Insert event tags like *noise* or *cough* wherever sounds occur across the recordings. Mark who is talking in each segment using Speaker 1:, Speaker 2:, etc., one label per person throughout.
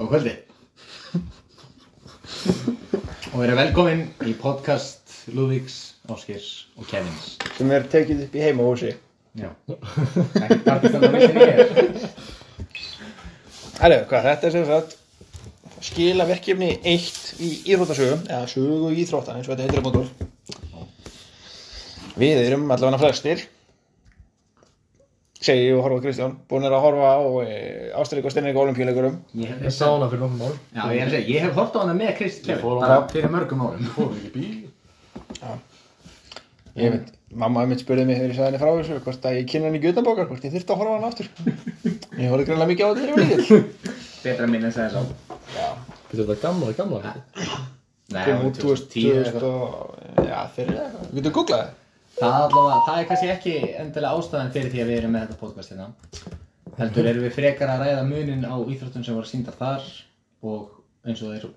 Speaker 1: og kvöldi og verið velkomin í podcast Lúðvíks, Áskers og Kevins
Speaker 2: sem er tekið upp í heimahúsi
Speaker 1: Já Ekki partistönda með sinni ég er.
Speaker 2: Herru, hvað þetta er sem sagt skila verkefni eitt í íþróttasögum eða sögu íþróttan eins og þetta heitir á mótur Við erum allavega flestir segi ég og horfa á Kristján búinir að horfa á e, Ástrík og Steinrik olimpíuleikurum
Speaker 1: Ég hef
Speaker 3: Ég sá hana fyrir nokkrum árum.
Speaker 1: Já, ég, hef, ég hef hort á hana með Krist Kevin
Speaker 3: fór á
Speaker 1: bara
Speaker 3: hana.
Speaker 1: fyrir mörgum árum
Speaker 3: Þú fórum ekki í bíl.
Speaker 2: ég veit, mamma einmitt spurði mig þegar ég sagði henni frá þessu hvort að ég kynna henni í Götabókar hvort ég þyrfti að horfa á hana aftur ég horfði greinlega mikið á þetta þegar ég var lítill
Speaker 1: Betra minn en þess að
Speaker 3: Þetta er gamla, gamla. ekki?
Speaker 1: Nei,
Speaker 2: Kom
Speaker 1: hún
Speaker 2: út
Speaker 1: var 2010 eða
Speaker 2: 2000
Speaker 1: eitthvað.
Speaker 2: og- já, fyrir eitthvað, við getum googlað það
Speaker 1: Það allavega, það er kannski ekki endilega ástæðan fyrir því að við erum með þetta podcast hérna heldur erum við frekar að ræða munin á íþróttum sem voru síndar þar og eins og þeir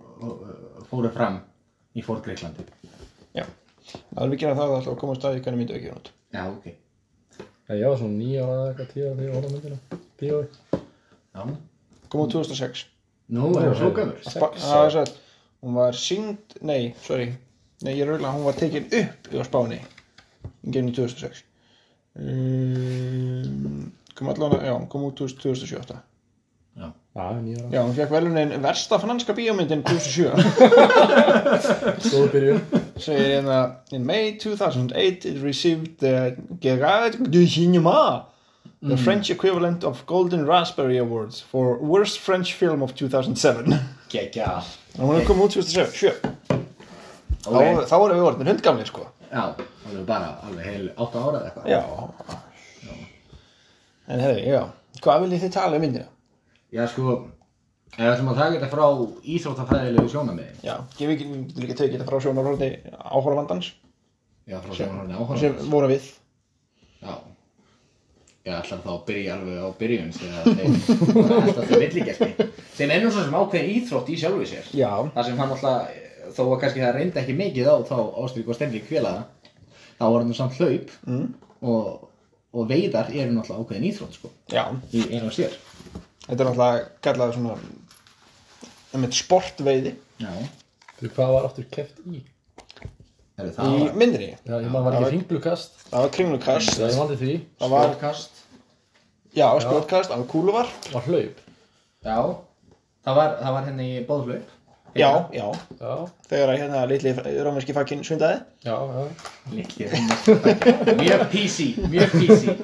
Speaker 1: uh, fóru fram í Fórgreiklandi
Speaker 2: Já, það er mikið að það alltaf að koma á staði hvernig myndu ekki hún út.
Speaker 1: Já, ok Já,
Speaker 3: Nei, Ég var svona nýja ára eða eitthvað tíu ára þegar ég horfði á myndina. Tíu ára.
Speaker 2: Kom út 2006.
Speaker 1: nú erum við svo gömur
Speaker 3: Sex
Speaker 2: Spa- Það er satt, hún var syngd, nei, sorry, nei, ég er auðvitað, hún var tekin upp á Spáni í genið 2006. Um, kom allan, já, hún kom út 2007.
Speaker 1: Já,
Speaker 3: Já, nýja ára.
Speaker 2: Já, hún fekk velunin versta franska bíómyndin 2007.
Speaker 3: Góð byrjun.
Speaker 2: Segir hérna, in May 2008 it received the Gerard du Cinema. The French equivalent of Golden Raspberry Awards for Worst French Film of *laughs* 2007.
Speaker 1: geggja
Speaker 2: En hún er komið út 2007
Speaker 1: Ok,
Speaker 2: okay. þá, þá erum við orðin hundgamlir sko
Speaker 1: já, þá erum við bara alveg heil 8 ára eða eitthvað
Speaker 2: já. En hefði, já Hvað viljið þið tala um myndina?
Speaker 1: Já, sko, ef við sem að taka þetta frá íþróttafræðilegu sjónamiði
Speaker 2: Já, ég vil ekki tekið þetta frá sjónarhorni áhorfandans
Speaker 1: Já, frá sjónamiði
Speaker 2: sem
Speaker 1: áhóra
Speaker 2: voru við
Speaker 1: Já Ég ætla þá að byrja alveg á byrjun þegar þeir *laughs* bara alltaf til villigerti sem ennum svo sem ákveðin íþrótt í sjálfu sér
Speaker 2: Já,
Speaker 1: þar sem hann alltaf, þó að kannski það reyndi ekki mikið á þá Ástrík og Stenlík félaga þá var hann nú samt hlaup mm. og, og veiðar eru náttúrulega ákveðin íþrótt sko,
Speaker 2: já
Speaker 1: í einu og sér
Speaker 2: Þetta er náttúrulega kallað svona einmitt sportveiði
Speaker 1: Já,
Speaker 3: Fyrir hvað var aftur keft í?
Speaker 1: eru
Speaker 2: í
Speaker 1: það var
Speaker 2: myndinni
Speaker 3: Já, ég maður var
Speaker 2: Já,
Speaker 3: ekki
Speaker 2: var-
Speaker 3: hringlukast.
Speaker 2: Það var kringlukast
Speaker 3: Já, ég valdi því.
Speaker 2: Það var,
Speaker 1: spjótkast
Speaker 2: já, spjótkast, það var kúluvar
Speaker 3: Var hlaup.
Speaker 1: Já, það var, það var henni í bóðhlaup
Speaker 2: Já, já,
Speaker 3: Já.
Speaker 2: þegar að hérna litli rómerski fakkin svindaði
Speaker 3: Já, já.
Speaker 1: Litli hringmestari. Mjög PC, mjög PC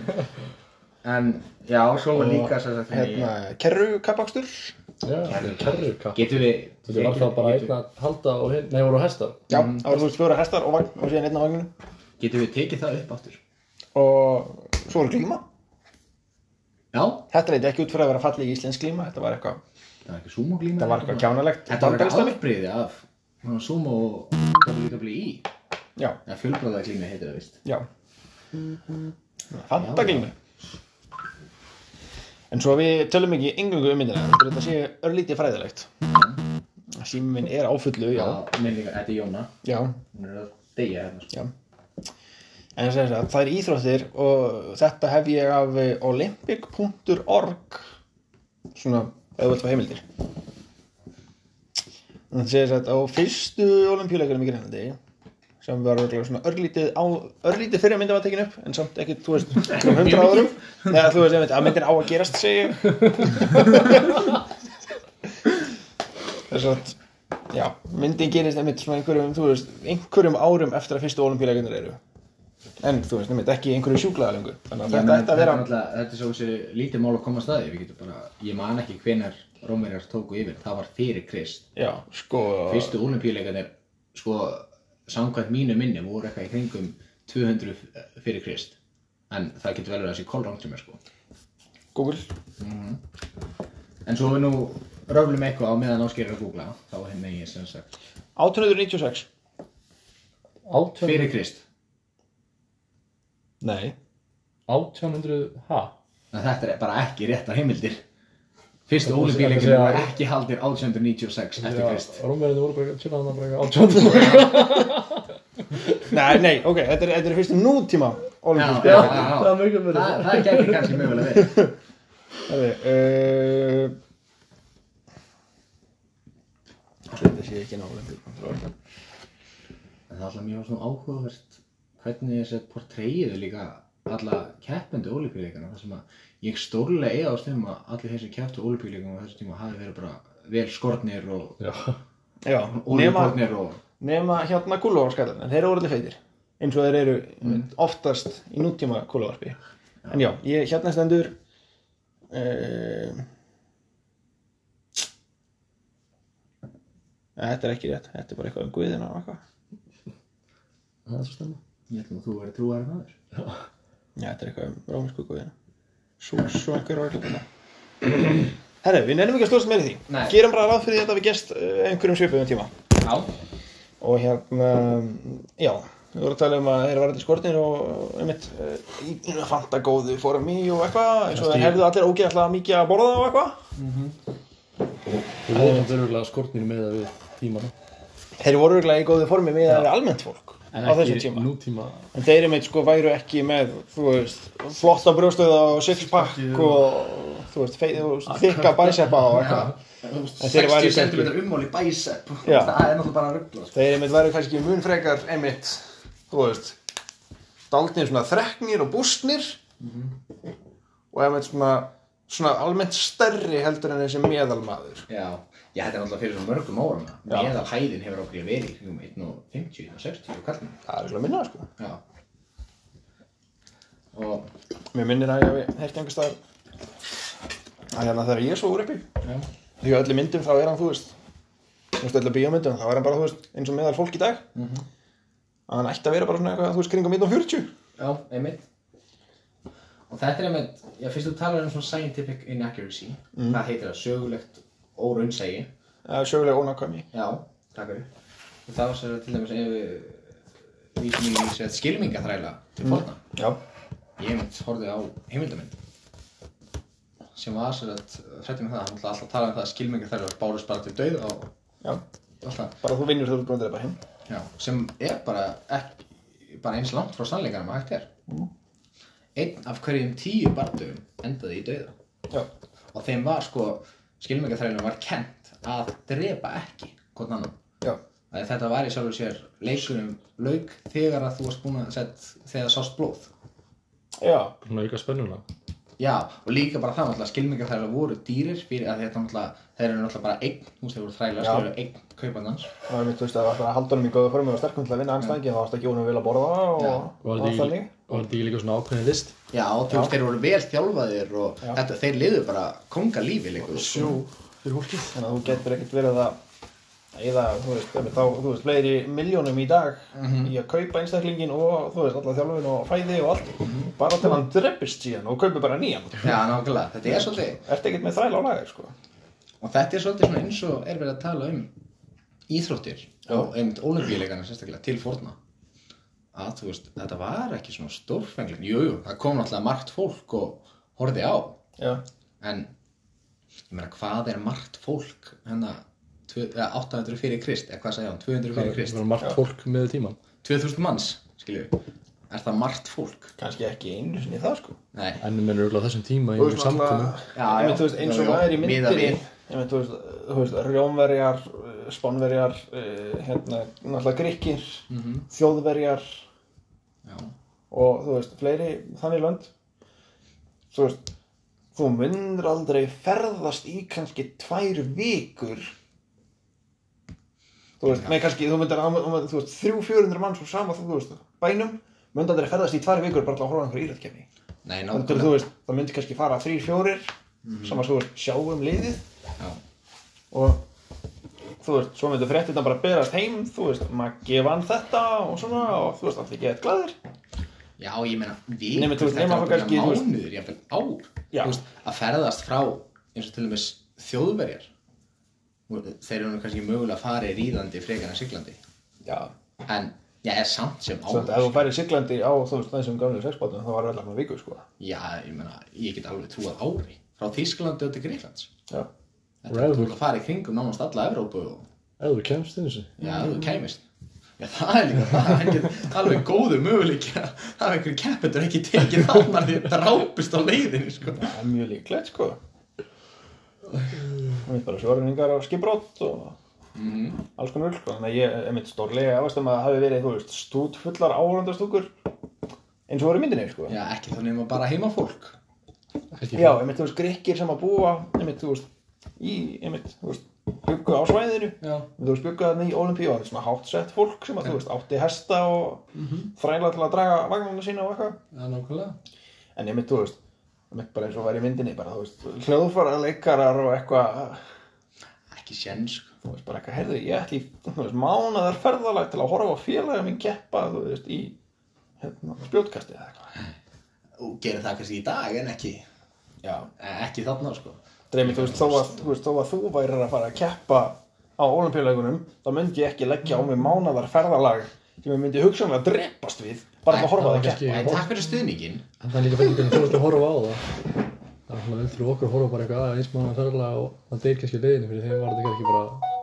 Speaker 1: En já, svo var líka sem sagt henni-
Speaker 2: Hérna, kerru kapakstur
Speaker 3: Já, þetta er kerrukast.
Speaker 1: Getur við
Speaker 3: Þetta var alltaf bara einn að halda og hinn, nei, voru á hestar.
Speaker 2: Já, það voru þú veist fjóra hestar og, vagn, og síðan einn á vagninu
Speaker 1: Getur við tekið það upp áttur?
Speaker 2: og svo voru glíma
Speaker 1: Já
Speaker 2: þetta leit ekki út fyrir að vera falleg íslensk glíma þetta var eitthvað,
Speaker 1: Það var ekki sumoglíma
Speaker 2: þetta var eitthvað kjánalegt
Speaker 1: Þetta var eitthvað
Speaker 2: Bandbelgsdæmi.
Speaker 1: afbríði af svona sumo og WWE
Speaker 2: já,
Speaker 1: Það fjölbróða glíma heitir það vist
Speaker 2: já fanta glíma en svo við tölum ekki engungu um myndina heldur þetta sé örlítið fræðilegt símum minn er á fullu, já
Speaker 1: Minn líka, þetta er Jóna
Speaker 2: já,
Speaker 1: Hún er að deyja hérna sko.
Speaker 2: já en sem sagt, það er íþróttir og þetta hef ég af eh, olympic.org svona auðvöld frá heimildir en það segir þetta á fyrstu olimpíuleikunum í Grænlandi sem var örugglega svona örlítið, á, örlítið fyrir að myndin var tekin upp en samt ekki, þú veist, um hundra árum neða þú veist, einmitt, að myndin á að gerast segi ég þess að já, myndin gerist einmitt svona einhverjum, þú veist, einhverjum árum eftir að fyrstu olimpíuleikunir eru en þú veist, einmitt, ekki einhverju sjúklaða lengur þannig
Speaker 1: Ég
Speaker 2: að þetta
Speaker 1: meina,
Speaker 2: ætti að
Speaker 1: er
Speaker 2: vera
Speaker 1: náttúrulega- Þetta er svo þessi lítið mál að koma að staði Við getum bara, ég man ekki hvenar Rómverjar tóku yfir, það var fyrir Krist
Speaker 2: já, sko,
Speaker 1: Fyrstu olimpíuleikarnir, sko, samkvæmt mínu minni voru eitthvað í kringum 200 fyrir Krist En það getur vel verið að þessi kolrangt sem er sko
Speaker 2: Google
Speaker 1: En svo við nú röflum eitthvað á meðan áskerir að googla þá er henni ég sem sagt
Speaker 2: 1896
Speaker 3: Átján,
Speaker 1: fyrir Krist
Speaker 2: Nei
Speaker 3: átján hundruð, ha?
Speaker 1: en þetta er bara ekki réttar heimildir Fyrstu
Speaker 3: Það er
Speaker 1: ólimpíuleikin
Speaker 3: segja-
Speaker 1: voru ekki haldir 1896 eftir Krist
Speaker 3: Rómverðinu voru bara, tjóna hann bara átján hundruð.
Speaker 2: Nei, nei, ok, þetta er, þetta er fyrstu nútíma
Speaker 1: Já,
Speaker 2: Olympisk
Speaker 1: já,
Speaker 3: Já,
Speaker 1: já,
Speaker 3: það er um mjög
Speaker 1: já.
Speaker 3: vel verið.
Speaker 2: eh,
Speaker 1: Það, það gæti kannski mögulega verið
Speaker 2: uh, sé ekki nálega
Speaker 1: En það er alltaf mjög svona áhugavert hvernig þessi portreiðu líka alla keppendu ólífíleikana þar sem að ég stórlega eiga á stefnum að allir þeir sem kepptu ólífíleikana á þessu tíma hafi verið bara vel skornir og
Speaker 3: Já,
Speaker 2: Já, nema,
Speaker 1: ólífíleiknir og
Speaker 2: nema hérna kúluvarskallin en þeir eru orðið feitir eins og þeir eru mm. oftast í nútíma kúluvarpi en já, ég hérna stendur uh, Þetta er ekki rétt, þetta er bara eitthvað um guðina og eitthvað
Speaker 3: það er svo stemma.
Speaker 1: ég ætlum að þú verið trúar en aður
Speaker 2: Já, þetta er eitthvað um rómansku guðina Svo, svo einhver orðið þetta *clears throat* Herra, við nefnum ekki að stóðast meira í því
Speaker 1: Nei.
Speaker 2: Gerum bara ráð fyrir því að þetta við gest uh, einhverjum svipuðum tíma
Speaker 1: Já,
Speaker 2: og hérna, já við vorum að tala um að þeir varandi skortir og einmitt, uh, fanta góðu fórum í og eitthvað eins og þeir hefðu allir ógeðslega mikið að borða og eitthvað
Speaker 3: Við vorum þurfulega skortnir með að við tímana.
Speaker 2: þeir voru örgulega í góðu formi með að þeir eru almennt fólk
Speaker 3: En
Speaker 2: á þessum
Speaker 3: ekki
Speaker 2: tíma
Speaker 3: nútíma.
Speaker 2: en þeir einmitt sko væru ekki með þú veist, flotta brjóstöða og sixpack og þú veist, fei, þú veist þykka bæsepa og eitthvað En þeir væru
Speaker 1: 60 cm
Speaker 2: kannski-
Speaker 1: ummáli bæsepp
Speaker 2: Já.
Speaker 1: *laughs* Það er náttúrulega bara að rugla sko.
Speaker 2: þeir einmitt væru kannski mun frekar einmitt, þú veist daldnir svona þreknir og bústnir og einmitt svona svona almennt stærri heldur en þessi meðalmaður
Speaker 1: Já, ég þetta er náttúrulega fyrir svona mörgum árum meðal hæðin hefur okkur verið í kringum 1.50 og 60 og kallum
Speaker 2: það er eitthvað minna sko
Speaker 1: Já Og,
Speaker 2: mér minnir að ég hef heyrt einhvers staðar að hérna þegar ég svo úr uppi
Speaker 1: já
Speaker 2: því að öllum myndum þá er hann þú veist þú veist öllum bíómyndum þá er hann bara þú veist eins og meðal fólk í dag að hann ætti að vera bara svona eitthvað þú veist kringum 140
Speaker 1: Já, einmitt Og þetta er einmitt, já, fyrst þú talar um svona scientific inaccuracy Það heitir það sögulegt óraunsægi
Speaker 2: uh, sjögulega ónákvæmi
Speaker 1: Já, takk fyrir Og það var sér til dæmis ef við vísum í sér skilmingaþræla til forna
Speaker 2: já
Speaker 1: Ég einmitt horfði á heimildamind sem var sér að fréttum það, hann ætlaði alltaf að tala um það að skilmingaþræla bárust bara til dauð og
Speaker 2: já
Speaker 1: allt það
Speaker 2: bara þú vinnur þegar þú ert búin að drepa hinn
Speaker 1: Já, sem er bara, ekki, bara eins langt frá sannleikanum að hægt er Einn af hverjum tíu barndöfum endaði í dauða
Speaker 2: já
Speaker 1: og þeim var sko skilmengjaþrælinu var kent að drepa ekki hvort annan
Speaker 2: já
Speaker 1: að þetta var í sjálfur sér leikunum lauk þegar að þú varst búin að sett þegar sást blóð
Speaker 2: já
Speaker 3: Svona auka spennuna.
Speaker 1: já og líka bara það náttúrulega skilmengjaþrælar voru dýrir fyrir að þetta náttúrulega þeir eru náttúrulega bara eign þú veist þeir voru þrælar
Speaker 2: Já.
Speaker 1: þeir eru eign kaupandans
Speaker 2: Það er mitt, þú veist, að það var að halda honum í góða formi og sterkum til að vinna anstæðingi, þá varst ekki honum vel að borða og,
Speaker 3: Og
Speaker 2: og
Speaker 3: var þetta
Speaker 2: þannig.
Speaker 3: ekki- var þetta ekki líka svona ákveðin list?
Speaker 1: já og þú veist þeir voru vel þjálfaðir og
Speaker 2: Já.
Speaker 1: þetta þeir liðu bara kongalífi líka
Speaker 2: Sjú, fyrir hólkið. Þannig að þú getur ekkert verið að eða, þú veist, emi, þá, þú veist, fleiri miljónum í dag í að kaupa einstaklingin og, þú veist, alla þjálfin og fæði og allt, bara til hann dreppist síðan og kaupi bara nýjan.
Speaker 1: já nákvæmlega þetta er svolítið
Speaker 2: Ertu ekkert með þræla á lagar, sko?
Speaker 1: Og þetta er svolítið svona eins og er verið að tala um íþróttir og einmitt olimpíuleikana sérstaklega til forna að þú veist, þetta var ekki svona stórfenglin jú, jú, það kom náttúrulega margt fólk og horfði á
Speaker 2: Já.
Speaker 1: en ég meina hvað er margt fólk hérna hennar 800 fyrir krist, eða hvað segja hann 200 fyrir
Speaker 3: Það
Speaker 1: krist,
Speaker 3: var margt fólk með tíman.
Speaker 1: 2000 manns skilju, er það margt fólk?
Speaker 2: Kannski ekki einu sinni það, sko.
Speaker 1: Nei,
Speaker 3: En mennur auðvitað þessum tíma í
Speaker 2: Þú
Speaker 3: einhverjum
Speaker 2: veist,
Speaker 3: samkomu.
Speaker 2: náttúrulega-
Speaker 1: Já,
Speaker 2: Einmitt,
Speaker 1: já.
Speaker 2: þú veist, eins og
Speaker 1: Já, já.
Speaker 2: það er í
Speaker 1: Miðað
Speaker 2: myndinni
Speaker 1: við.
Speaker 2: einmitt, þú veist, þú veist, rjómverjar eh, spánverjar, eh, hérna náttúrulega grikkir,
Speaker 1: Mhm.
Speaker 2: þjóðverjar
Speaker 1: já,
Speaker 2: og þú veist, fleiri þannig lönd þú veist þú myndir aldrei ferðast í kannski tvær vikur þú veist, með kannski þú myndir, þú myndir, þú veist, þrjú, fjörundur manns og sama, þú veist, bænum myndir aldrei ferðast í tvær vikur bara til að horfa á einhverju írættkefni
Speaker 1: nei,
Speaker 2: Þannig
Speaker 1: nákvæmlega
Speaker 2: þú veist, það myndi kannski fara þrýr, fjórir sem að þú veist, sjá um liðið
Speaker 1: já,
Speaker 2: og þú veist, svo myndi fréttirna bara berast heim, þú veist, Maggi vann þetta og svona og þú veist, allir geðið glæðir
Speaker 1: Já, ég meina, við
Speaker 2: Nei, menn, þú veist, nema þá kannski, þú veist-
Speaker 1: mánuður, jafnvel ár
Speaker 2: Já.
Speaker 1: Þú veist, að ferðast frá eins og til og með þjóðverjar Þú veist, þeir eru nú kannski mögulega farið ríðandi frekar en siglandi
Speaker 2: Já,
Speaker 1: en ég er samt sem
Speaker 2: svo
Speaker 1: áður
Speaker 2: þetta, ef þú færir siglandi á, þú veist, þessum gamlega sexbátum, þá var allar með viku, sko
Speaker 1: Já, ég meina, ég get alveg trúað ári frá Þýsklandi og til Greiklands
Speaker 2: Já,
Speaker 1: Þetta er þú að fara í kringum nánast alla Evrópu og
Speaker 3: Ef þú kemst inn þessu.
Speaker 1: já, þú kæmist Já, það er líka það, hann get alveg góðu möguleik að hafa einhverjum keppendur ekki tekið þarna því að drápist á leiðinni, sko.
Speaker 2: það er mjög líklegt, sko Það myndi bara sjórningar á skipbrott og alls konar öll, þannig að ég er mitt stórlega efast um að það hafi verið, þú veist, stút fullar áhörandastúkur eins og voru í myndinni, sko.
Speaker 1: Já, ekki þá nema bara heimafólk.
Speaker 3: Ekki
Speaker 2: Já, einmitt, þú veist, grekkir sem að búa, einmitt, þú veist, í, einmitt, þú veist, byggu á svæðinu,
Speaker 1: Já.
Speaker 2: þú veist, byggu þarna í Olympíu og það er svona háttsett fólk sem að, þú veist, átti hesta og þræla til að draga vagnarna sína og eitthvað.
Speaker 3: Já, nákvæmlega.
Speaker 2: En einmitt, þú veist, einmitt bara eins og var í myndinni, bara, þú veist, hljóðfara leikarar og eitthvað,
Speaker 1: Ekki séns, sko.
Speaker 2: þú veist, bara eitthvað, heyrðu, ég ætli, í, þú veist, mánaðar ferðalag til að horfa á félagum minn keppa, þú veist, í, hérna, spjótkasti eða eitthvað.
Speaker 1: Og gerir það kannski í dag en ekki,
Speaker 2: Já.
Speaker 1: eh, ekki þarna, sko.
Speaker 2: Dreimi, þú veist, þó að, þú veist, þó að þú værir að fara að keppa á olimpíuleikunum, þá myndi ég ekki leggja á mig mánadar ferðalag sem ég myndi hugsanlega drepast við bara til að horfa á það að
Speaker 3: Æ,
Speaker 2: keppa.
Speaker 1: Æ, takk fyrir stuðningin.
Speaker 3: En það er líka fyrir hvernig þú ert að horfa á það. Það er svona vel fyrir okkur að horfa bara eitthvað að eins mánuð ferðalega og það deyr kannski leiðinu fyrir þeim var þetta kannski bara,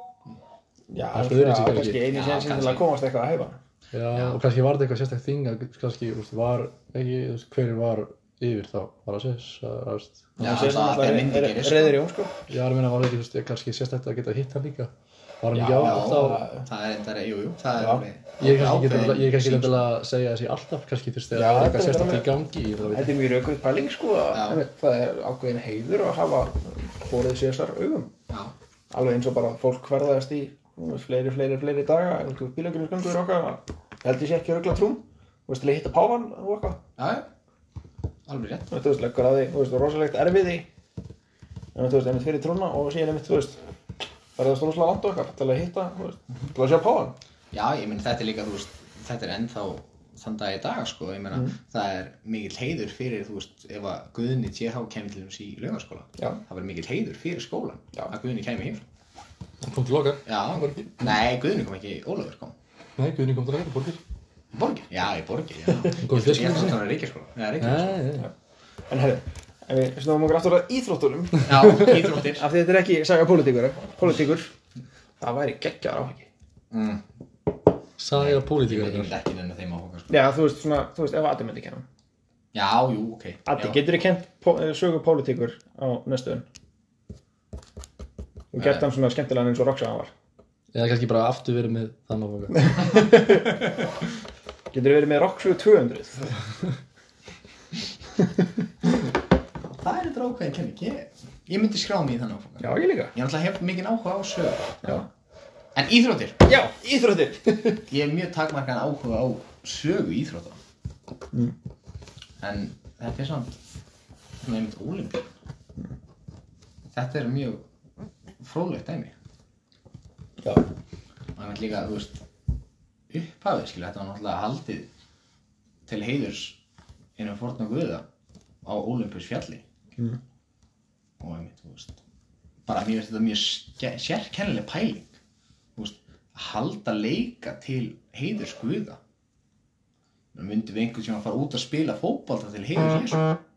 Speaker 2: Já,
Speaker 3: Það er
Speaker 2: það er
Speaker 3: öðruvísi kannski.
Speaker 2: kannski einu
Speaker 1: Já,
Speaker 2: sénsinn til
Speaker 1: kannski.
Speaker 2: að komast eitthvað að hefa.
Speaker 3: já, og kannski var þetta eitthvað sérstækt þing að kannski, þú veist, var ekki, þú veist, hverjir var yfir þá, var það sérs, að, þú veist,
Speaker 1: Já,
Speaker 2: Það sé
Speaker 1: það
Speaker 2: svona
Speaker 1: er þegar myndi
Speaker 2: alltaf
Speaker 1: gerir, sko.
Speaker 2: re- reyðir í hún, sko.
Speaker 3: ég er að minna var þetta, þú veist, kannski sérstækt að geta hitt hann líka. Var hann
Speaker 2: Já,
Speaker 3: ekki á, alltaf,
Speaker 1: Það er, það er, jú, jú, það er
Speaker 2: Já.
Speaker 1: alveg.
Speaker 3: Ég er kannski ekki
Speaker 1: ákveðin
Speaker 3: endilega- ég er kannski
Speaker 1: sýn,
Speaker 3: ekki að segja þessi alltaf kannski þú veist
Speaker 2: Já,
Speaker 3: þegar það er
Speaker 2: þetta
Speaker 3: eitthvað
Speaker 2: er
Speaker 3: sérstaklega
Speaker 2: alveg-
Speaker 3: í gangi ég bara veit.
Speaker 2: Þetta er mjög raukuð pæling, sko. að-
Speaker 1: Já.
Speaker 2: einmitt, Það er ákveðin heiður að hafa hórið sérsar augum.
Speaker 1: Já,
Speaker 2: Alveg eins og bara fólk hverðast í þú veist, fleiri, fleiri, fleiri daga, einhverjum bílökunisgöngur og okkar. Ég held ég sé ekki rögla trúm, þú veist, til að hitta páfan og okkar.
Speaker 1: já, já, alveg rétt.
Speaker 2: Þú veist, þú veist, leggur að því, þú veist, rosalegt erfiði En þú veist, einmitt fyrir trúna og síðan einmitt, þú veist Verðast rosalega langt okkar til að hitta, þú veist Til að sjá páan
Speaker 1: Já, ég minn þetta er líka, þú veist, þetta er ennþá þann dag í dag, sko, ég meina, það er mikill heiður fyrir, þú veist, ef að Guðni TH kemur til þessi í laugaskóla,
Speaker 2: Já.
Speaker 1: það var mikill heiður fyrir skólan,
Speaker 2: Já.
Speaker 1: að Guðni kemur heim.
Speaker 3: Hann kom til okkar
Speaker 1: Já, nei, Guðni kom ekki, Ólafur kom.
Speaker 3: Nei, Guðni kom til okkar, borgir
Speaker 1: Borgir? Já, í borgir, já.
Speaker 3: Kom í
Speaker 1: Ég- Ég
Speaker 3: fjölskyldunni
Speaker 1: þátt
Speaker 3: sinni?
Speaker 1: hann að reykjaskóla. Já, reykjaskóla.
Speaker 3: Nei, nei, nei.
Speaker 2: En herri, ef við snúum okkur aftur að íþróttunum Af
Speaker 1: Já,
Speaker 2: *laughs*
Speaker 1: íþróttir.
Speaker 2: því þetta er ekki saga pólitíkur, eh? pólitíkur Það væri geggjar áhengi
Speaker 1: Mm.
Speaker 3: Saga
Speaker 1: Ég
Speaker 3: pólitíkar
Speaker 1: myndi
Speaker 3: þetta.
Speaker 1: ekki nennu þeim áhuga, sko.
Speaker 2: Já, þú veist, svona, þú veist, ef Addi myndi kenna
Speaker 1: Já, jú, ok.
Speaker 2: Addi,
Speaker 1: Já.
Speaker 2: getur þið kent pó- eh, sögu pólitíkur á næstuðun? Þú gert hann svona skemmtilegan eins og Roxanne var
Speaker 3: Eða kannski bara aftur verið með þann áfanga
Speaker 2: Getur þið verið með Roxanne 200?
Speaker 1: Það er þetta ákveðin kenning. Ég, ég myndi skrá mig í þann áfanga.
Speaker 2: Já, ég líka
Speaker 1: Ég náttúrulega hef mikið áhuga á sögur.
Speaker 2: Já,
Speaker 1: En íþróttir.
Speaker 2: Já íþróttir
Speaker 1: Ég hef mjög takmarkan áhuga á sögu íþrótta. En þetta er samt, svona einmitt ólimpíun. Þetta er mjög fróðlegt dæmi.
Speaker 2: *laughs* Já,
Speaker 1: Og einmitt líka, þú veist, upphafið, skilja, þetta var náttúrulega haldið til heiðurs innan forna guða á ólimpíus fjalli.
Speaker 2: Mm.
Speaker 1: Og einmitt, þú veist, bara mér finnst þetta mjög ske- sérkennileg pæling. Þú veist, að halda leika til heiðurs guða. Nú myndum við einhvern sem að fara út að spila fótbolta til heiðurs Jésu.
Speaker 2: Mm-hmm.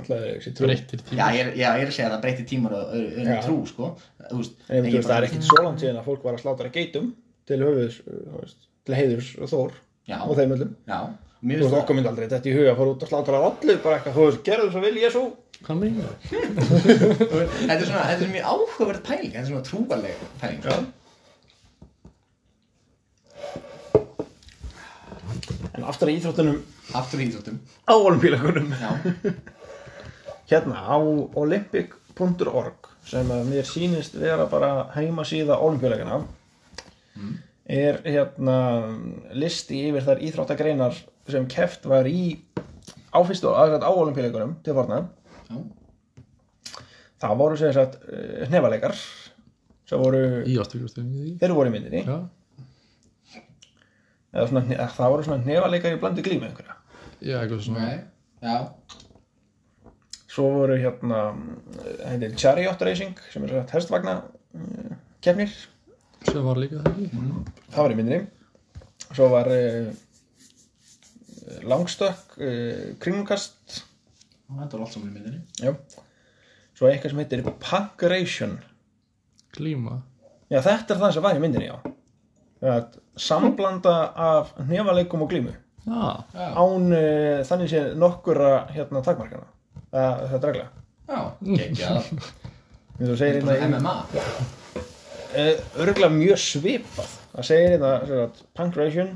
Speaker 2: alltaf er þessi trú
Speaker 3: Breyttir
Speaker 1: Já,
Speaker 3: tíma
Speaker 1: ég er, já, ég er að segja að það breyti tímar og öðru
Speaker 2: Já.
Speaker 1: trú, sko. Þú veist,
Speaker 2: En
Speaker 1: en
Speaker 2: ég,
Speaker 1: ég
Speaker 2: veist, það er
Speaker 1: bara-
Speaker 2: ekkert svo langt síðan að fólk var að slátra geitum til höfuðs, uh, þú veist, til heiðurs og þór
Speaker 1: Já.
Speaker 2: og þeim öllum.
Speaker 1: Já, mér
Speaker 2: Þú
Speaker 1: finnst
Speaker 2: veist,
Speaker 1: það-
Speaker 2: okkur myndi aldrei þetta í huga að fara út að slátra allu, bara eitthvað, þú veist, gerðu svo vil ég svo.
Speaker 3: Hvað meina það?
Speaker 1: þetta er svona, þetta er mjög áhugaverð pæling þetta er svona trúarleg pæling sko.
Speaker 2: Já. En aftur að íþróttunum
Speaker 1: aftur í íþróttum
Speaker 2: á olimpíleikunum.
Speaker 1: já,
Speaker 2: Hérna, á olympic.org sem að mér sýnist vera bara heimasíða olimpíuleikana er hérna listi yfir þær íþróttagreinar sem keft var í á fyrstu aðrætt á olimpíuleikunum til forna
Speaker 1: já,
Speaker 2: það voru sem sagt eh, hnefaleikar sem voru,
Speaker 3: Í ástugustum í því
Speaker 2: þeir voru í myndinni
Speaker 3: Já,
Speaker 2: eða svona, hne- eða það voru svona hnefaleikar í blandu glímu einhverja
Speaker 3: já, eitthvað svona
Speaker 1: nei, já
Speaker 2: svo voru hérna hérna chariot racing sem er sem sagt hestvagna kefnir
Speaker 3: Sem var líka það ekki
Speaker 2: það var í myndinni svo var uh, langstökk uh, kringkast
Speaker 1: og þetta var allt saman í myndinni
Speaker 2: já. svo eitthvað sem heitir pankuration
Speaker 3: Klíma
Speaker 2: já þetta er það sem var í myndinni já að samblanda af nefaleikum og glímu
Speaker 3: Já,
Speaker 1: já,
Speaker 2: án uh, þannig sé nokkura hérna takmarkana uh, þetta er regla
Speaker 1: já, geggjað
Speaker 2: eins og segir
Speaker 1: Bara
Speaker 2: hérna í-
Speaker 1: MMA
Speaker 2: uh, örgulega mjög svipað það segir hérna, þetta pancration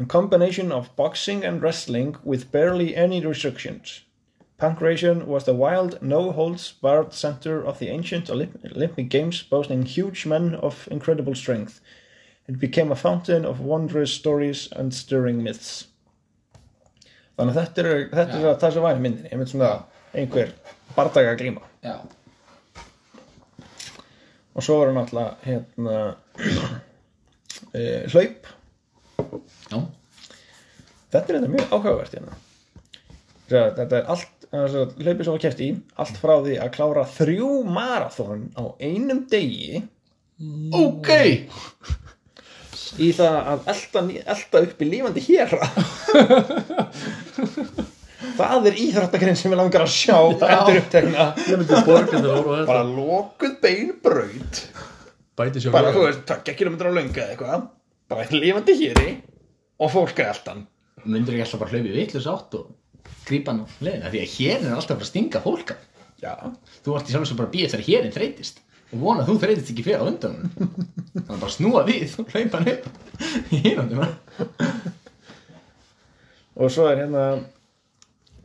Speaker 2: a combination of boxing and wrestling with barely any restrictions Pancration was the wild, no-holds-barred center of the ancient Olymp- Olympic Games, boasting huge men of incredible strength. It became a fountain of wondrous stories and stirring myths. Þannig að þetta er, þetta er það sem var í myndinni, einmitt svona einhver bardaga glíma.
Speaker 1: Já.
Speaker 2: og svo var hann alltaf hérna *clears throat* uh, hlaup
Speaker 1: Já.
Speaker 2: þetta er þetta mjög áhugavert hérna Sem sagt, þetta er allt sem sagt, hlaupið sem var kert í allt frá því að klára þrjú marathón á einum degi
Speaker 1: Ok!
Speaker 2: í það að elta, elta upp í lífandi héra *laughs* það er íþróttagrinn sem ég langar að sjá endur upptegna
Speaker 3: Ég myndi borga til að horfa á þetta
Speaker 2: bara lokuð beinbraut
Speaker 3: Bæti sjá
Speaker 2: bara
Speaker 3: vegan.
Speaker 2: þú veist, tökja kilometra á löngu eða eitthvað bara eitt lífandi héri og fólk er eldan
Speaker 1: Myndur ekki alltaf bara hlaupið vitlaus átt og grípa hann á leiðina því að hérin er alltaf bara að stinga fólka.
Speaker 2: já,
Speaker 1: Þú ert í sjálfum sem bara að býja þegar hérin þreytist og vona að þú þreytist ekki fyrir á undan hann. Þannig að bara snúa við og hlaupa hann upp í hinandi mann.
Speaker 2: og svo er hérna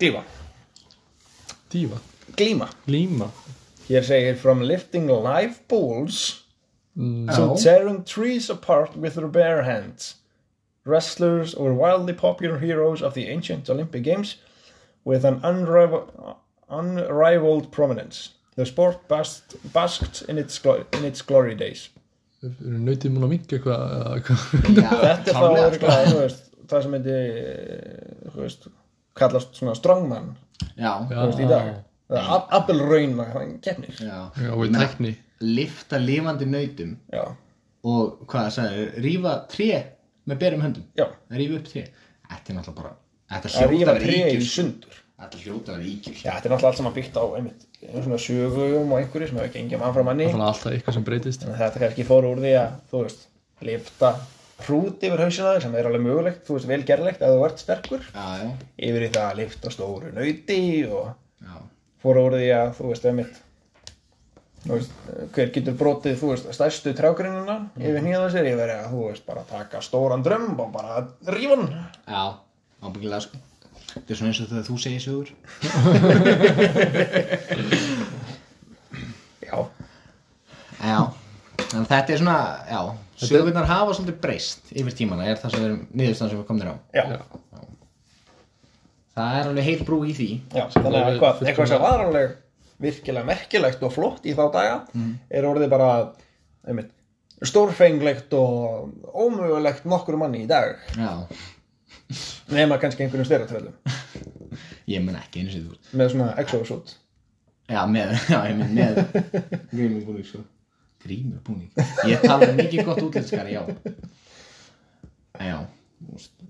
Speaker 2: glíma,
Speaker 3: Dífa
Speaker 2: glíma
Speaker 3: Líma
Speaker 2: hér segir from lifting live balls to
Speaker 1: Já.
Speaker 2: tearing trees apart with their bare hands wrestlers were wildly popular heroes of the ancient Olympic Games with an unrival, unrivaled prominence the sport basked, basked in, its glo- in its glory days
Speaker 3: Eru nautið múin að minka eitthvað eða hvað?
Speaker 2: Þetta er
Speaker 1: klárlega,
Speaker 2: þá
Speaker 1: sko.
Speaker 2: örugglega, þú veist, það sem myndi eh, þú veist, kallast svona strongman
Speaker 1: sko. Já.
Speaker 2: þú veist, í dag eða ab- appelrauna keppnir
Speaker 1: Já.
Speaker 3: Já, og í
Speaker 1: Ég meina,
Speaker 3: tekni
Speaker 1: Lyfta lifandi nautum
Speaker 2: já,
Speaker 1: og hvað það sagði, rífa tré með berum höndum.
Speaker 2: já,
Speaker 1: Rífa upp tré. Þetta er náttúrulega bara, þetta hljóta
Speaker 2: að rífa
Speaker 1: að vera
Speaker 2: tré í
Speaker 1: ígjur. sko.
Speaker 2: sundur
Speaker 1: Þetta hljóta að vera ígjur.
Speaker 2: já, þetta er náttúrulega allt saman byggt á einmitt svona sögum og einhverju sem hefur gengið mann frá manni
Speaker 3: Þannig að alltaf eitthvað sem breytist
Speaker 2: þannig að þetta kannski fór úr því að þú veist, lifta hrút yfir hausina þér sem er alveg mögulegt, þú veist, velgerlegt að þú ert sterkur
Speaker 1: Já, já.
Speaker 2: yfir í það að lifta stóru nauti og
Speaker 1: Já.
Speaker 2: fór úr því að þú veist einmitt þú veist, hver getur brotið þú veist, stærstu trjágreinina yfir nýjaða sér yfir að þú veist bara taka stóran drömb og bara rífan
Speaker 1: Já, ábyggilega sko Þetta er svona eins og þegar þú segir sögur
Speaker 2: já,
Speaker 1: Já, en þetta er svona, já Sögurnar hafa svolítið breyst yfir tímana er það sem við erum niðurstaðan sem við komum þér á
Speaker 2: já,
Speaker 3: Já.
Speaker 2: já,
Speaker 1: Það er alveg heil brú í því
Speaker 2: þannig að eitthvað,
Speaker 3: er fullkomlega-
Speaker 2: eitthvað sem var alveg virkilega merkilegt og flott í þá daga er orðið bara einmitt stórfenglegt og ómögulegt nokkur manni í dag
Speaker 1: Já,
Speaker 2: nema kannski einhverjum styratöðlum
Speaker 1: ég menn ekki einu sér þú
Speaker 2: með svona exosút
Speaker 1: Já, með, *laughs* já, ég menn með
Speaker 2: *laughs*
Speaker 1: Grímubúning sko Grímubúning Ég tala um mikið gott útlenskari, já En já, þú veist,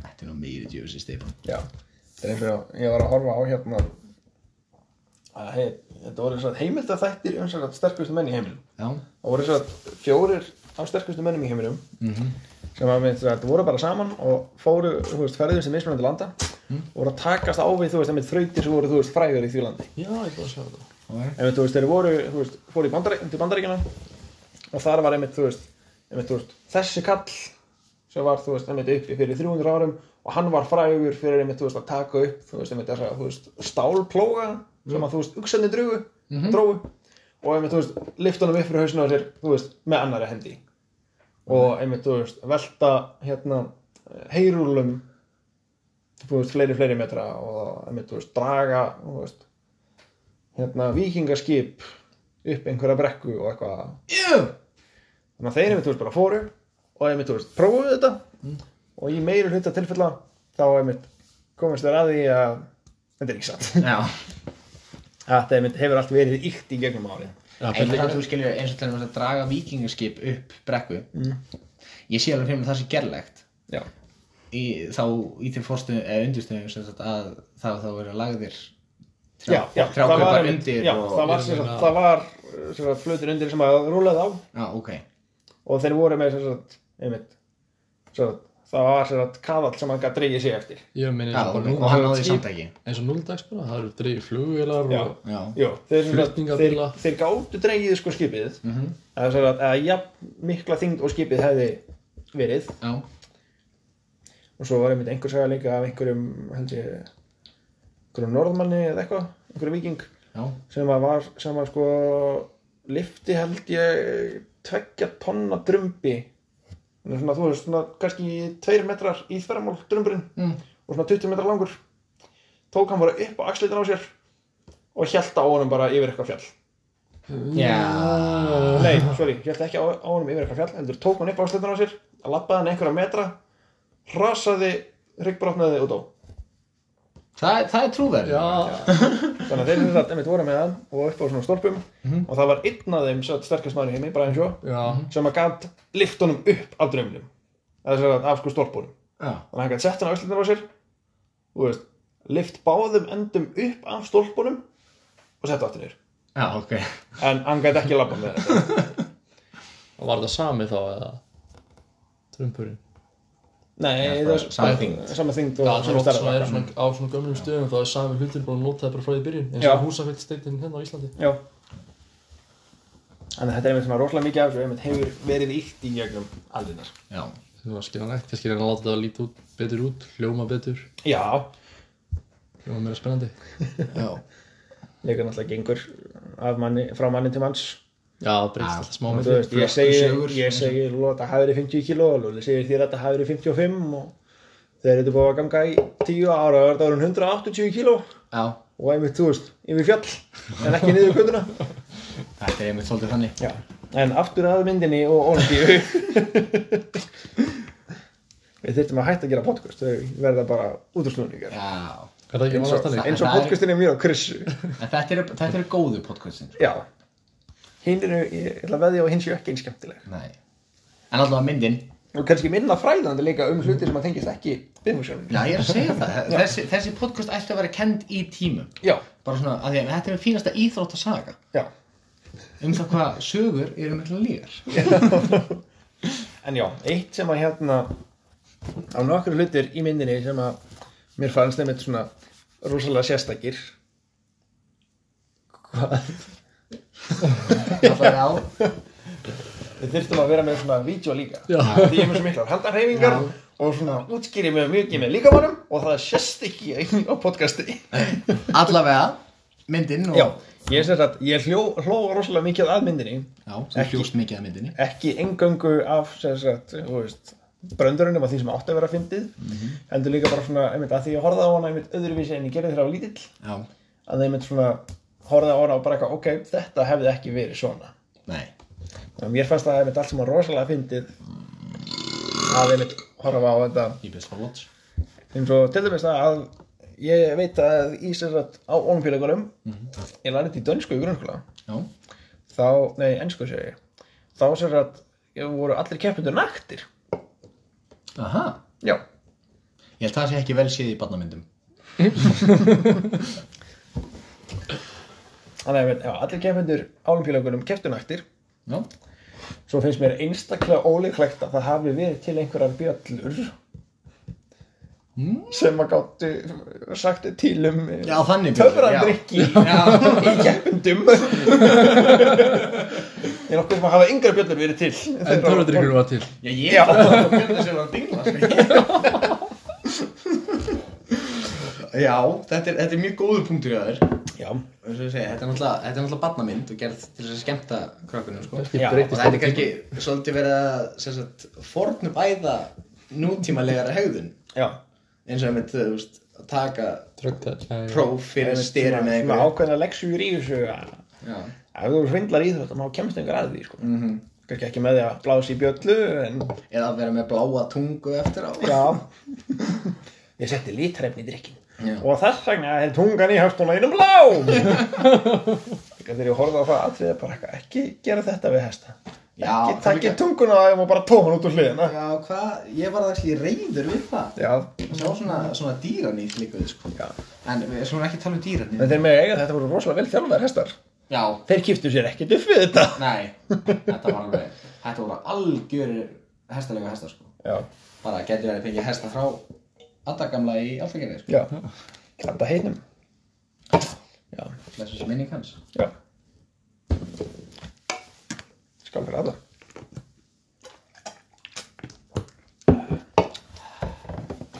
Speaker 1: þetta er nú meiri djöfis í Stefán
Speaker 2: Já, þetta er eins og ég var að horfa á hérna að hei, þetta voru eins og heimild að þættir um sér að sterkustu menn í heiminum
Speaker 1: Já,
Speaker 2: það voru eins og að fjórir af sterkustu mennum í heiminum sem að mynd, þetta voru bara saman og fóru, þú veist, ferðum sem mismunandi landa
Speaker 3: Mm.
Speaker 2: og voru að takast á við, þú veist, einmitt þrautir sem voru, þú veist, frægur í því landi
Speaker 3: Já, ég búið að sjá þetta
Speaker 1: ok
Speaker 2: einmitt, þú veist, þeir voru, þú veist, fóru í bandar, til bandaríkina og þar var einmitt, þú veist, einmitt, þú veist, þessi kall sem var, þú veist, einmitt uppi fyrir 300 árum og hann var frægur fyrir einmitt, þú veist, að taka upp, þú veist, einmitt, þessa, þú veist, stálplóga sem að, þú veist, uksandi drugu, drógu og einmitt, þú veist, lyfta hann upp fyrir hausinu á sér, þú veist, með annari hendi og einmitt, þú veist, velta, hérna, heyrúlum, þú veist, fleiri, fleiri metra og einmitt, þú veist, draga, þú veist, hérna, vikingaskip upp einhverja brekku og eitthvað
Speaker 1: Jú,
Speaker 2: þannig að þeir einmitt þú veist bara fóru og einmitt þú veist prófuðu þetta og í meiri hluta tilfella þá einmitt komast þeir að því að þetta er ekki satt
Speaker 1: já
Speaker 2: *laughs* þetta einmitt hefur allt verið ykt í gegnum árið
Speaker 3: Já,
Speaker 1: En
Speaker 3: fyrir
Speaker 1: það þú skilur eins og til dæmis að draga vikingaskip upp brekku
Speaker 2: Mm.
Speaker 1: Ég sé alveg fyrir mig það sé gerlegt
Speaker 2: já,
Speaker 1: í, Þá í til fórstu eða undirstöðum sem sagt að það þá verið lagðir
Speaker 2: já, já það
Speaker 1: trjákaupar
Speaker 2: var, einmitt,
Speaker 1: undir
Speaker 2: já,
Speaker 1: og,
Speaker 2: það var, sem sagt, það var sem sagt, flutur undir sem að rúlaði á
Speaker 1: Já, ok
Speaker 2: og þeir voru með sem sagt, einmitt sem sagt, það var sér að kaðall sem hann gæti dreigið sig eftir
Speaker 3: Ég meina
Speaker 1: Já,
Speaker 3: eins og bara
Speaker 1: og
Speaker 3: núna
Speaker 1: hann náði samt ekki.
Speaker 3: eins og núldags bara, það eru dreigir flugvélar
Speaker 2: Já.
Speaker 3: og
Speaker 1: Já.
Speaker 2: Jó, þeir, sem sagt- þeir,
Speaker 3: Flutningabíla.
Speaker 2: þeir gáttu dreigið sko skipið mm
Speaker 1: Mhm.
Speaker 2: -hmm. að, að, að jafn mikla þyngd og skipið hefði verið
Speaker 1: Já.
Speaker 2: og svo var einmitt einhver saga líka af einhverjum held ég einhverjum norðmanni eða eitthvað, einhverjum viking
Speaker 1: Já.
Speaker 2: sem að var, sem að sko lifti held ég tveggja tonna drömbi svona, þú veist, svona kannski tveir metrar í þverramál drömburinn
Speaker 1: Mm.
Speaker 2: og svona 20 metrar langur tók hann bara upp á axlitin á sér og hjælt á honum bara yfir eitthvað fjall
Speaker 3: Ah.
Speaker 1: Já.
Speaker 2: nei, sorry, hjælt ekki á, á honum yfir eitthvað fjall heldur tók hann upp á axlitin á sér lappaði hann einhverja metra rasaði, ryggbrotnaði og dó
Speaker 1: Það, það er trúverð.
Speaker 3: Já,
Speaker 2: þannig að þeir eru þetta, einmitt voru með hann og upp á svona stólpum og það var einn af þeim sem sagt, sterkast maður í heimi, Brian Shaw
Speaker 3: já,
Speaker 2: sem að gæt lift honum upp af draumnum eða sem að af sko stólpunum
Speaker 1: Já.
Speaker 2: þannig að hann gæt sett hann á öllindar á sér þú veist, lift báðum endum upp af stólpunum og sett aftur nýr
Speaker 1: Já, ok.
Speaker 2: en hann gæt ekki labba með þetta
Speaker 3: var þetta sami þá eða trumpurinn?
Speaker 2: nei,
Speaker 1: Já,
Speaker 2: það
Speaker 1: bara
Speaker 2: er
Speaker 1: sama þyngd.
Speaker 2: sama þyngd
Speaker 3: Já,
Speaker 2: og
Speaker 3: það er
Speaker 2: sama
Speaker 3: oft svona, er
Speaker 2: stærðar
Speaker 3: svona á svona gömlum stöðum þá er sami hlutin bara notaði bara frá því í byrjun eins
Speaker 2: Já.
Speaker 3: og húsafell steitin hérna á Íslandi
Speaker 2: já þannig að þetta er einmitt svona rosalega mikið af þessu einmitt hefur verið ítt í gegnum aldinar
Speaker 1: Já.
Speaker 3: Það var skiljanlegt, kannski reyna að láta þetta líta út, betur út, hljóma betur,
Speaker 2: já,
Speaker 3: hljóma meira spennandi
Speaker 1: Já.
Speaker 2: líka náttúrulega gengur af manni, frá manni til manns
Speaker 3: Já, það breytist
Speaker 1: Já.
Speaker 3: alltaf smá með
Speaker 2: Þú veist, ég
Speaker 1: flökkur
Speaker 2: segi,
Speaker 1: sögur,
Speaker 2: ég
Speaker 1: eins og-
Speaker 2: segi Lóta hafi verið 50 kíló og Lúli segir þér að þetta hafi verið 55 og þeir eru búið að ganga í 10 ára og þetta voru 180 kíló
Speaker 1: Já.
Speaker 2: og einmitt, þú veist, yfir fjall en ekki niður kvölduna
Speaker 1: Þetta er einmitt svolítið þannig.
Speaker 2: Já. En aftur að myndinni og ólífíu Við þyrftum að hætta að gera podcast þau verða bara útrúslunningar
Speaker 1: Já.
Speaker 3: Er það ekki
Speaker 2: eins
Speaker 3: vanast
Speaker 2: og,
Speaker 3: þannig?
Speaker 2: eins og podcastin er mjög á krissu
Speaker 1: En þetta eru, þetta eru góðu podcastin.
Speaker 2: Já Hinn eru, ég ætla að veðja og hinn séu ekki eins skemmtileg
Speaker 1: Nei. En allavega myndin.
Speaker 2: og kannski minna fræðandi líka um hluti sem að tengist ekki viðmúsjónum
Speaker 1: Já, ég er að segja það. Þessi, þessi podcast ætti að vera kend í tímum.
Speaker 2: Já,
Speaker 1: Bara svona, að því að þetta er einn fínasta íþrótt að saga.
Speaker 2: já
Speaker 1: Um það hvað sögur eru mikla lígar.
Speaker 2: En já, eitt sem að hérna á nokkru hlutir í myndinni sem að mér fannst þeim eitt svona rosalega sérstakir
Speaker 1: Það er á.
Speaker 2: Við þyrftum að vera með svona vídeo líka
Speaker 3: Já.
Speaker 2: Því ég er með svo miklar handarhefingar
Speaker 1: Já.
Speaker 2: og svona útskýri með mikið með líkamannum og það sést ekki á podcasti
Speaker 1: Allavega, myndin og...
Speaker 2: Já, ég sér að ég hljó, hló rosalega mikið að myndinni
Speaker 1: Já, þú
Speaker 2: Ekki-
Speaker 1: hljóst mikið að myndinni.
Speaker 2: ekki engöngu af sem sagt, þú veist bröndurinnum og því sem átti að vera fyndið heldur líka bara svona, einmitt að því ég horfði á hana einmitt öðruvísi en ég gerði þeirra á lítill
Speaker 1: Já.
Speaker 2: að þeim einmitt svona horfði á hana og bara eitthvað, ok, þetta hefði ekki verið svona
Speaker 1: Nei.
Speaker 2: og mér fannst það einmitt allt sem var rosalega fyndið að einmitt horfa á þetta
Speaker 1: Ég byrst að watch.
Speaker 2: eins og til dæmis það að ég veit að í sér að á olimpíuleikunum
Speaker 1: Mhm.
Speaker 2: ég lærði þetta í dönsku í grunnskóla
Speaker 1: Já.
Speaker 2: þá, nei, ennsku segi ég þá sér að voru allir keppindur naktir
Speaker 1: Aha.
Speaker 2: já,
Speaker 1: Ég held að það sé ekki vel séð í barnamyndum.
Speaker 2: þannig að einmitt, já, allir keppindur á olimpíuleikunum kepptu naktir
Speaker 1: Já.
Speaker 2: Svo finnst mér einstaklega ólíklegt að það hafi verið til einhverjar bjöllur sem að gáttu sagt til um
Speaker 1: Mm. Já, þannig
Speaker 2: töfrandrykki
Speaker 1: Já.
Speaker 2: í keppundum Ég er nokkuð sem að hafa yngra bjöllur verið til
Speaker 3: En törfadrykkur var til
Speaker 1: Já, ég
Speaker 2: Já.
Speaker 1: er það að björna sem var að dingla sko. Já, þetta er, þetta er mjög góður punktur í aður
Speaker 2: Já,
Speaker 1: eins og ég segi, þetta er náttúrulega, þetta er náttúrulega barnamynd og gerð til þess að skemmta krökkunum sko.
Speaker 3: Kannski
Speaker 2: Já,
Speaker 1: og
Speaker 3: breytist
Speaker 1: þetta er
Speaker 3: þetta
Speaker 1: kannski svolítið verið að sem sagt, fornum æða nútímalegara hegðun
Speaker 2: já
Speaker 1: eins og einmitt, þú veist, að taka
Speaker 3: Trögtæð
Speaker 1: próf fyrir styrir með
Speaker 2: Svona ákveðna leksjur í þessu að
Speaker 1: Já,
Speaker 2: ef þú svindlar í þetta, þá kemst einhver að því sko. mm -hmm. Kannski ekki með því að blása í bjöllu en
Speaker 1: eða að vera með bláa tungu eftir á
Speaker 2: Já *laughs* Ég setti litrefni í drikkin
Speaker 1: Já.
Speaker 2: Og þess vegna er tungan í höfstuna einum *laughs* blá Þegar þegar ég horfði á það atriði bara eitthvað Ekki gera þetta við hesta
Speaker 1: Já,
Speaker 2: Ekki
Speaker 1: það
Speaker 2: takki
Speaker 1: líka-
Speaker 2: tunguna á þeim og bara tóa hann út úr hliðina
Speaker 1: Já, hvað, ég var það ekki reyður við það
Speaker 2: Já
Speaker 1: Það var svona, svona dýranýtt líka við sko
Speaker 2: Já.
Speaker 1: En við skulum ekki tala um dýranýtt
Speaker 2: En þeir með eiga þetta voru rosalega vel þjálfaðar hestar
Speaker 1: Já,
Speaker 2: Þeir kiptu sér ekkert upp við þetta
Speaker 1: nei, þetta var alveg Þetta voru algjörir hestalega hestar sko
Speaker 2: já,
Speaker 1: bara getur verið að pengja hesta frá aðdagamla í alfagerði sko.
Speaker 2: já. Klanda heinum. Já,
Speaker 1: blessu sem sko. minning hans
Speaker 2: já. Skal fyrir alla.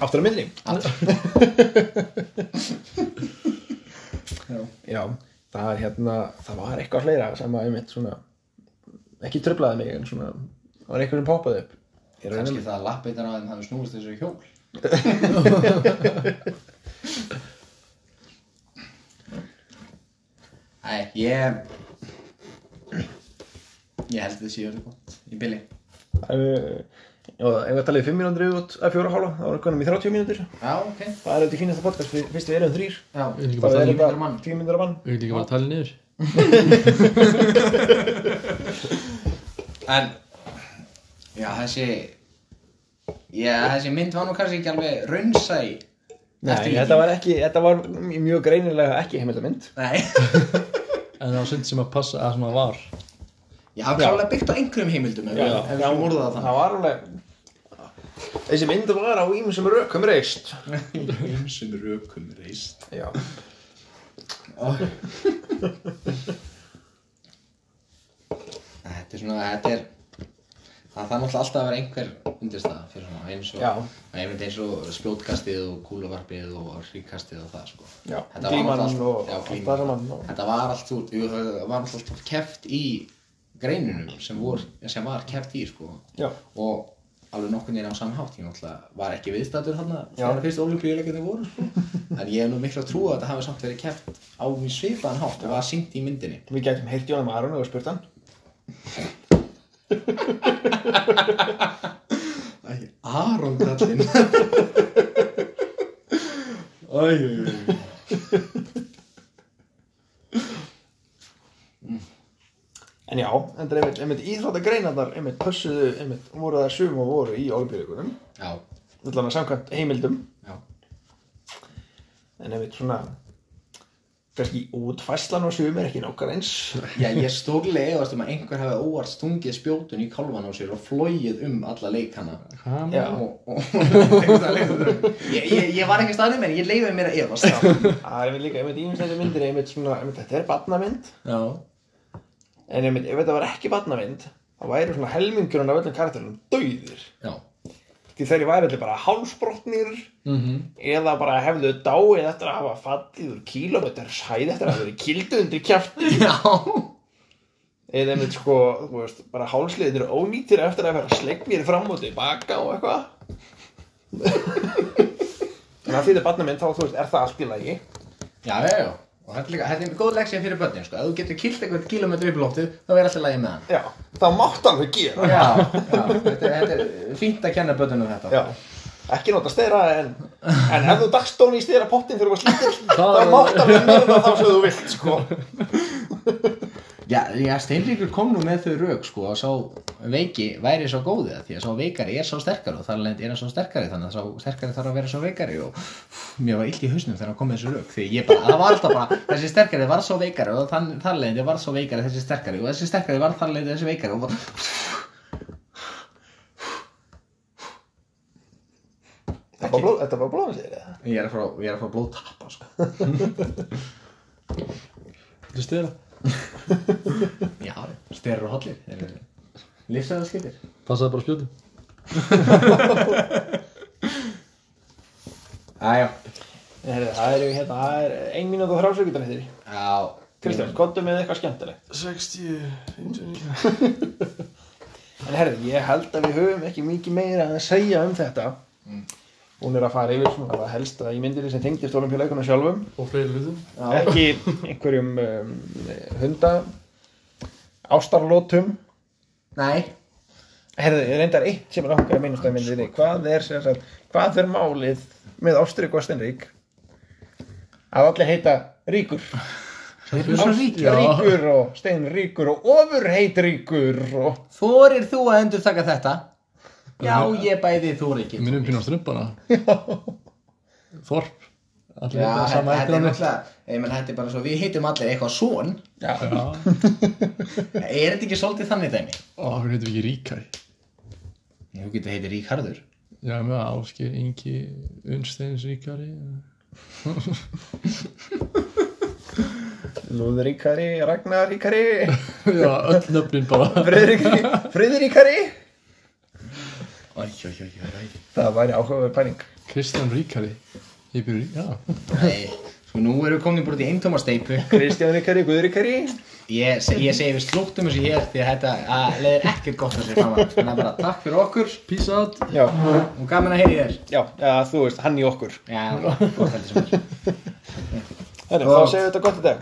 Speaker 2: Aftur á myndinni.
Speaker 1: já.
Speaker 2: Já, það er hérna, það var eitthvað fleira sem að einmitt svona, ekki tröflaði mig en svona, það var eitthvað sem poppaði upp. Ég er að reyna
Speaker 1: kannski það að lappitan á þeim hafi snúist þessu í *laughs* hjól Æ, ég ég held þið síðan gott í bili
Speaker 2: Ef við, já, ef við talið 5 mínútur út að fjóra hálfa, þá erum við 30 mínútur.
Speaker 1: já, ok,
Speaker 2: Það er auðvitað kynast að podcast, við- fyrst við erum þrýr.
Speaker 1: já
Speaker 3: Ég
Speaker 2: Þá
Speaker 3: bara
Speaker 2: er
Speaker 3: tala-
Speaker 1: mínútur
Speaker 2: þetta
Speaker 1: mann.
Speaker 2: 10 mínútur að mann.
Speaker 3: Við getum ekki bara að tala niður
Speaker 1: en já, þessi já, þessi mynd var nú kannski ekki alveg raunsa í
Speaker 2: Nei, þetta var ekki, þetta var mjög greinilega ekki heimildamind.
Speaker 1: *laughs* nei
Speaker 3: En það var sund sem að passa að svona var
Speaker 1: Já, klálega byggt á einhverjum heimildum ef við- ef við svo morða það *laughs*
Speaker 2: Það var alveg, þessi mynd var á ímsum rökum reist.
Speaker 1: þannig Einsum rökum reist
Speaker 2: Já,
Speaker 1: Þetta er svona, þetta er Það þarf náttúrulega alltaf að vera einhver undirstaða fyrir svona eins og
Speaker 2: Já.
Speaker 1: Ég myndi eins og spjótkastið og kúluvarpið og ríkastið og það sko
Speaker 2: Já,
Speaker 1: Þetta var
Speaker 2: glíman
Speaker 1: náttúrulega allt-
Speaker 2: og
Speaker 1: já,
Speaker 2: allt
Speaker 1: glíman.
Speaker 2: það saman og-
Speaker 1: Þetta var allt út, jú, það var náttúrulega alltaf keft í greinunum sem, vor, sem var keft í sko
Speaker 2: já,
Speaker 1: og alveg nokkur nýra á samhátt ég náttúrulega var ekki viðstættur þarna
Speaker 2: Já.
Speaker 1: þegar fyrst olimpíuleikarnir voru sko. *laughs* en ég hef nú miklu að trúa að þetta hafi samt verið keft á mjög svipaðan hátt og var syngt í myndinni
Speaker 2: við gætum heyrt Jónum Aron og spurt hann.
Speaker 1: Aron kallinn Æjú
Speaker 2: En já, þetta er einmitt, einmitt íþróttagreinarnar, einmitt pössuðu, einmitt voru það sum og voru í olbjörgugunum,
Speaker 1: *laughs* Já,
Speaker 2: allan að samkvæmt heimildum,
Speaker 1: já,
Speaker 2: en einmitt svona, kannski útfæslan og sum er ekki nokkar eins.
Speaker 1: já, ég er stórlega efast um að einhver hafi óvart stungið spjótun í kálvan á sér og flóið um alla leikana
Speaker 3: Hann
Speaker 2: Já,
Speaker 1: *laughs* og, og, og ég, ég, ég var ekki staðnum en ég leiði mér að efast
Speaker 2: það er einmitt líka, einmitt íminslega myndir, einmitt svona, einmitt þetta er barnamynd,
Speaker 1: Já,
Speaker 2: en einmitt ef þetta var ekki barnamynd, þá væri svona helmingurinn af öllum karakterunum dauðir.
Speaker 1: já,
Speaker 2: Því þeir væri allir bara hálsbrotnir,
Speaker 3: Mhm.
Speaker 2: eða bara hefðu dáið eftir að hafa fallið úr kílómetrar sæð eftir að hafa verið kildu undir kjæft
Speaker 1: já.
Speaker 2: eða einmitt sko, þú veist, bara hálsliðir ónýtir eftir að vera slegnir fram og tilbaka og eitthvað en að því þetta barna minn þá, þú veist, er það allt í lagi
Speaker 1: Já, já, já. Og þetta er líka, þetta er góð leksja fyrir börnin, sko. Ef þú getur kilt einhvern kílómetri upp í loftið, þá er alltaf lægi með hann.
Speaker 2: já, það mátt alveg gera
Speaker 1: Já, já. Þetta, er- þetta er fínt að kenna börnunum þetta.
Speaker 2: já, ekki nota steyra en, en ef þú dagst ofan í steyra pottin þegar þú var *laughs* slítill,
Speaker 3: Það er-
Speaker 2: þá mátt alveg mörða þá sem þú vilt, sko
Speaker 1: Já, já, Steinríkur kom nú með þau rauk, sko, að sá veiki væri svo góðið, því að sá veikari er svo sterkari og þar alveg er hann svo sterkari, þannig að sá sterkari þarf að vera svo veikari og mér var illt í hausnum þegar hann kom með þessu rauk, því ég bara, það var alltaf bara, þessi sterkari var svo veikari og þann, þar alveg var svo veikari þessi sterkari og þessi sterkari var þar alveg þessi veikari og bara,
Speaker 2: þetta var blóð- þetta var blóðan segir það
Speaker 1: ég er að fara, ég er að fara að blóð tappa, sko.
Speaker 3: Þetta styrra
Speaker 1: Já, styrur og hollir Lifsaða skiptir
Speaker 3: Passaði bara spjóti
Speaker 1: Æjá
Speaker 2: það eru hérna, það er ein mínúti og þrjásökutan eftir
Speaker 1: Já
Speaker 2: Kristján, kontum með eitthvað skemmtilegt
Speaker 4: 60, 59
Speaker 2: *laughs* En herði, ég held að við höfum ekki mikið meira að segja um þetta. Hún er að fara yfir svona að helsta í myndir sem tengdist olimpíuleikuna sjálfum.
Speaker 3: Og fleiri hlutum
Speaker 2: Ekki einhverjum um, hunda, ástarlótum.
Speaker 1: Nei
Speaker 2: Herði, reyndar eitt sem er okkar að minnast að myndir Hvað er, sem sagt, hvað er málið með Ástrík og Stenrík? Að allir heita Ríkur.
Speaker 1: Þeir
Speaker 2: Ástríkur Ríkur og Steinríkur og Ofurheitríkur og...
Speaker 1: Þorir þú að endur taka þetta? Já, ég bæði þú ekki
Speaker 3: Ég minnum pínu á
Speaker 1: *laughs*
Speaker 3: strumpana Þorp Allir
Speaker 1: Já,
Speaker 3: þetta
Speaker 1: þetta þetta er
Speaker 3: sama eftir hann
Speaker 1: náttúrulega Ég menn, þetta er bara svo Við heitum allir eitthvað svon
Speaker 2: Já,
Speaker 1: Er þetta ekki svolítið þannig dæmi?
Speaker 3: Og hann heitir ekki Ríkæ
Speaker 1: Þú getur heitið Ríkarður.
Speaker 3: Já, með Ásgeir Ingi Unnsteins ríkari
Speaker 2: Lúðríkari, Ragnarríkari
Speaker 3: Já, öll nöfnin bara
Speaker 1: *laughs*
Speaker 2: Friðríkari, Friðríkari
Speaker 1: Æj, æj, æj, æj.
Speaker 2: Það væri áhugaverð pæling
Speaker 3: Kristján ríkari Ég byrju, já
Speaker 1: Nei, sko nú erum við komin bara út í eintómasteipu.
Speaker 2: Kristján Ríkari, Guðríkari
Speaker 1: Ég, se- ég segi við slúttum þessu hér því að þetta að leiðir ekkert gott að segja fram að. Þannig að bara takk fyrir okkur
Speaker 3: Peace out
Speaker 2: Já,
Speaker 1: og gaman að heyri þér.
Speaker 2: já, ja, þú veist, hann í okkur
Speaker 1: Já, gott heldur sem er.
Speaker 2: Herri,
Speaker 1: Gott.
Speaker 2: þá segjum við þetta gott í dag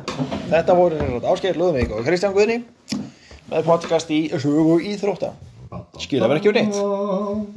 Speaker 2: Þetta voru sem sagt Ásgeir Lúðvík og Kristján Guðni með podcast í sögu íþrótta Skilja verið ekki úr neitt